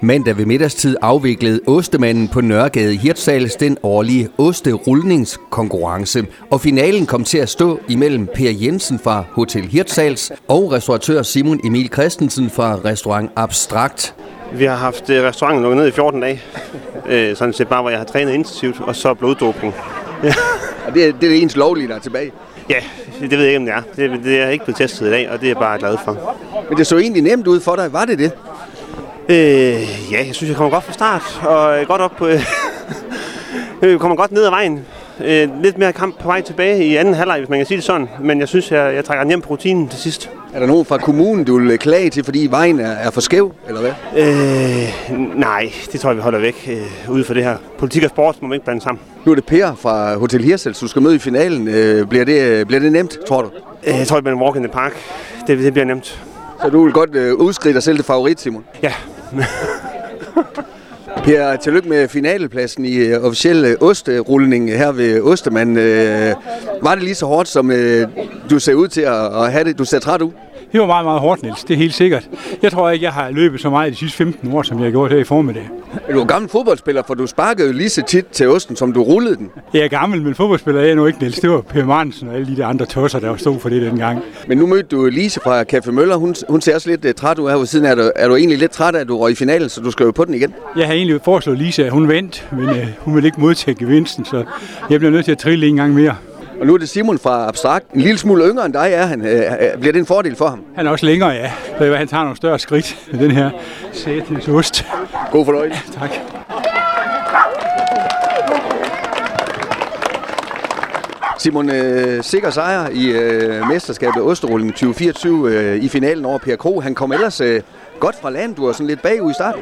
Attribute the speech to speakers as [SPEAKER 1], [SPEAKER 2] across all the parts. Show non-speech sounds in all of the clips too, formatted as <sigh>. [SPEAKER 1] Mandag ved middagstid afviklede Ostemanden på Nørregade i Hirtshals den årlige Osterullningskonkurrence. Og finalen kom til at stå imellem Per Jensen fra Hotel Hirtshals og restauratør Simon Emil Christensen fra Restaurant Abstrakt.
[SPEAKER 2] Vi har haft øh, restauranten lukket ned i 14 dage. Øh, sådan set bare, hvor jeg har trænet intensivt, og så bloddopning.
[SPEAKER 1] Og det er det, er det ens lovlige, der er tilbage.
[SPEAKER 2] Ja, det ved jeg ikke, om det er. Det, det er ikke blevet testet i dag, og det er jeg bare glad for.
[SPEAKER 1] Men det så egentlig nemt ud for dig, var det det?
[SPEAKER 2] Øh, ja, jeg synes, jeg kommer godt fra start, og øh, godt op på... øh, <laughs> Jeg kommer godt ned ad vejen. Øh, lidt mere kamp på vej tilbage i anden halvleg, hvis man kan sige det sådan. Men jeg synes, jeg, jeg trækker den hjem på rutinen til sidst.
[SPEAKER 1] Er der nogen fra kommunen, du vil øh, klage til, fordi vejen er, er for skæv, eller hvad?
[SPEAKER 2] Øh, nej, det tror jeg, vi holder væk øh, ude for det her. Politik og sport må man ikke blande sammen.
[SPEAKER 1] Nu er det Per fra Hotel Hirtshals, du skal møde i finalen. Øh, bliver, det, bliver det nemt, tror du?
[SPEAKER 2] Øh, jeg tror, det bliver en walk in the park. Det, det bliver nemt.
[SPEAKER 1] Så du vil godt øh, udskrive dig selv til favorit, Simon?
[SPEAKER 2] Ja,
[SPEAKER 1] Per, tillykke med finalepladsen i øh, officiel øh, osterulning her ved Ostermand. Øh, var det lige så hårdt, som øh, du ser ud til at, at have det? Du ser træt ud.
[SPEAKER 3] Det var meget, meget hårdt, Niels. Det er helt sikkert. Jeg tror ikke, jeg har løbet så meget de sidste 15 år, som jeg har gjort her i formiddag.
[SPEAKER 1] Du er gammel fodboldspiller, for du sparkede jo lige så tit til osten, som du rullede den.
[SPEAKER 3] Jeg er gammel, men fodboldspiller er jeg nu ikke, Niels. Det var Per Martensen og alle de der andre tosser, der stod for det dengang.
[SPEAKER 1] Men nu mødte du Lise fra Café Møller. Hun, hun ser også lidt øh, træt ud her ved siden. Er du, er du egentlig lidt træt af, at du røg i finalen, så du skal jo på den igen?
[SPEAKER 3] Jeg har egentlig foreslået Lisa, at hun vandt, men øh, hun ville ikke modtage gevinsten, så jeg bliver nødt til at trille en gang mere.
[SPEAKER 1] Og nu er det Simon fra Abstrakt. En lille smule yngre end dig er han. Øh, øh, Bliver det en fordel for ham?
[SPEAKER 3] Han er også længere, ja. Så han tager nogle større skridt med den her sætens ost.
[SPEAKER 1] God fornøjelse.
[SPEAKER 3] Tak.
[SPEAKER 1] Simon, øh, sikker sejr i øh, mesterskabet Osterrullen 2024 øh, i finalen over Per Kro. Han kom ellers øh, godt fra land. Du var sådan lidt bagud i starten.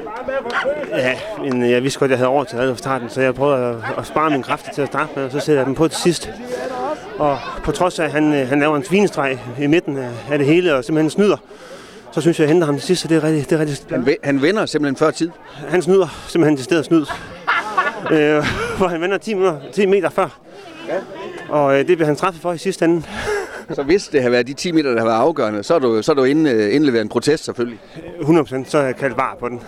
[SPEAKER 2] Ja, men øh, jeg vidste godt, at jeg havde overtaget det fra starten, så jeg prøvede at, at spare mine kræfter til at starte med, og så sætter jeg dem på til sidst. Og på trods af, at han, øh, han laver en svinestreg i midten af, af det hele, og simpelthen snyder, så synes jeg, at jeg henter ham til sidst, så det er rigtig, det er rigtig
[SPEAKER 1] Han, vi- han vinder simpelthen før tid.
[SPEAKER 2] Han snyder, simpelthen til stedet snyd. Øh, <laughs> hvor han vender 10 meter, 10 meter før. Og øh, det bliver han straffet for i sidste ende.
[SPEAKER 1] Så hvis det havde været de 10 meter, der havde været afgørende, så er du, så er du inde, øh, indleveret en protest selvfølgelig.
[SPEAKER 2] 100% så har jeg kaldt var på den.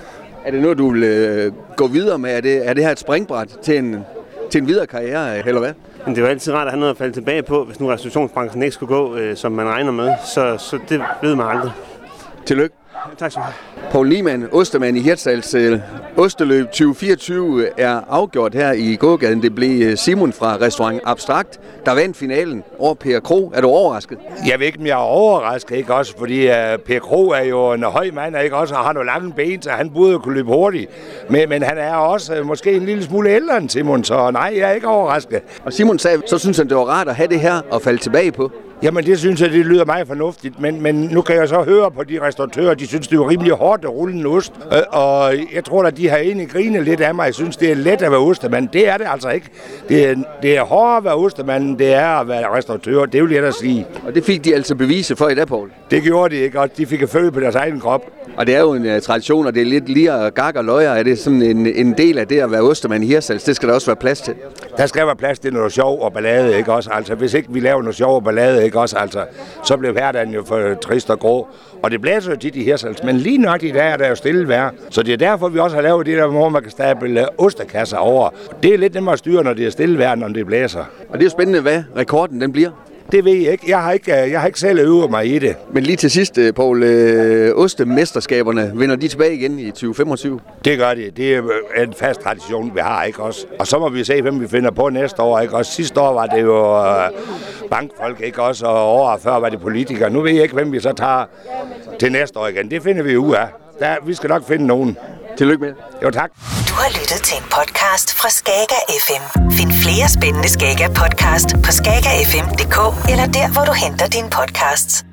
[SPEAKER 1] Er det noget, du vil øh, gå videre med? Er det, er det her et springbræt til en, til en videre karriere, øh, eller hvad?
[SPEAKER 2] Men det er jo altid rart at have noget at falde tilbage på, hvis nu restaurationsbranchen ikke skulle gå, øh, som man regner med. Så, så det ved man aldrig.
[SPEAKER 1] Tillykke.
[SPEAKER 2] Tak skal du have.
[SPEAKER 1] Poul Niemann, Ostermand i Hirtshals. øh, Osterløb 2024 øh, er afgjort her i gågaden. Det blev øh, Simon fra Restaurant Abstrakt, der vandt finalen over Per Kro. Er du overrasket?
[SPEAKER 4] Jeg ved ikke, om jeg er overrasket, ikke også? Fordi uh, Per Kro er jo en høj mand, ikke også? Og har nogle lange ben, så han burde jo kunne løbe hurtigt. Men, men han er også uh, måske en lille smule ældre end Simon, så nej, jeg er ikke overrasket.
[SPEAKER 1] Og Simon sagde, så synes han, det var rart at have det her og falde tilbage på.
[SPEAKER 4] Jamen, det synes jeg, det lyder meget fornuftigt, men, men nu kan jeg så høre på de restauratører, de synes, det var rimelig hårdt at rulle en ost. Øh, og jeg tror da, de har egentlig grinet lidt af mig. Jeg synes, det er let at være ostemand. Det er det altså ikke. Det er, det er hårdere at være ostemand, end det er at være restauratør. Det vil jeg da sige.
[SPEAKER 1] Og det fik de altså bevise for i dag, Poul.
[SPEAKER 4] Det gjorde de ikke, og de fik at føle på deres egen krop.
[SPEAKER 1] Og det er jo en uh, tradition, og det er lidt lige at gak og løjer. Er det sådan en, en del af det at være ostermand i Hirtshals? Det skal der også være plads til.
[SPEAKER 4] Der skal være plads til noget sjov og ballade, ikke også? Altså, hvis ikke vi laver noget sjov og ballade, ikke også? Altså, så bliver hverdagen jo for trist og grå. Og det blæser jo tit i Hirsals, men lige nok i dag er der jo stille vejr. Så det er derfor, vi også har lavet det der, hvor man kan stable øh, ostekasser over. Det er lidt nemmere at styre, når det er stille vejr, end når det blæser.
[SPEAKER 1] Og det er jo spændende, hvad rekorden den bliver.
[SPEAKER 4] Det ved jeg ikke. Jeg har ikke, øh, jeg har ikke selv øvet mig i det.
[SPEAKER 1] Men lige til sidst, øh, Poul, øh, Ostemesterskaberne, vender de tilbage igen i 2025?
[SPEAKER 4] Det gør det. Det er en fast tradition, vi har, ikke også? Og så må vi se, hvem vi finder på næste år, ikke også? Sidste år var det jo øh, bankfolk, ikke også? Og året før var det politikere. Nu ved jeg ikke, hvem vi så tager til næste år igen. Det finder vi ud af. Der, vi skal nok finde nogen.
[SPEAKER 1] Tillykke med det.
[SPEAKER 4] Jo, tak.
[SPEAKER 5] Du har lyttet til en podcast fra Skager FM. Find flere spændende Skager podcast på skagerfm.dk eller der, hvor du henter dine podcasts.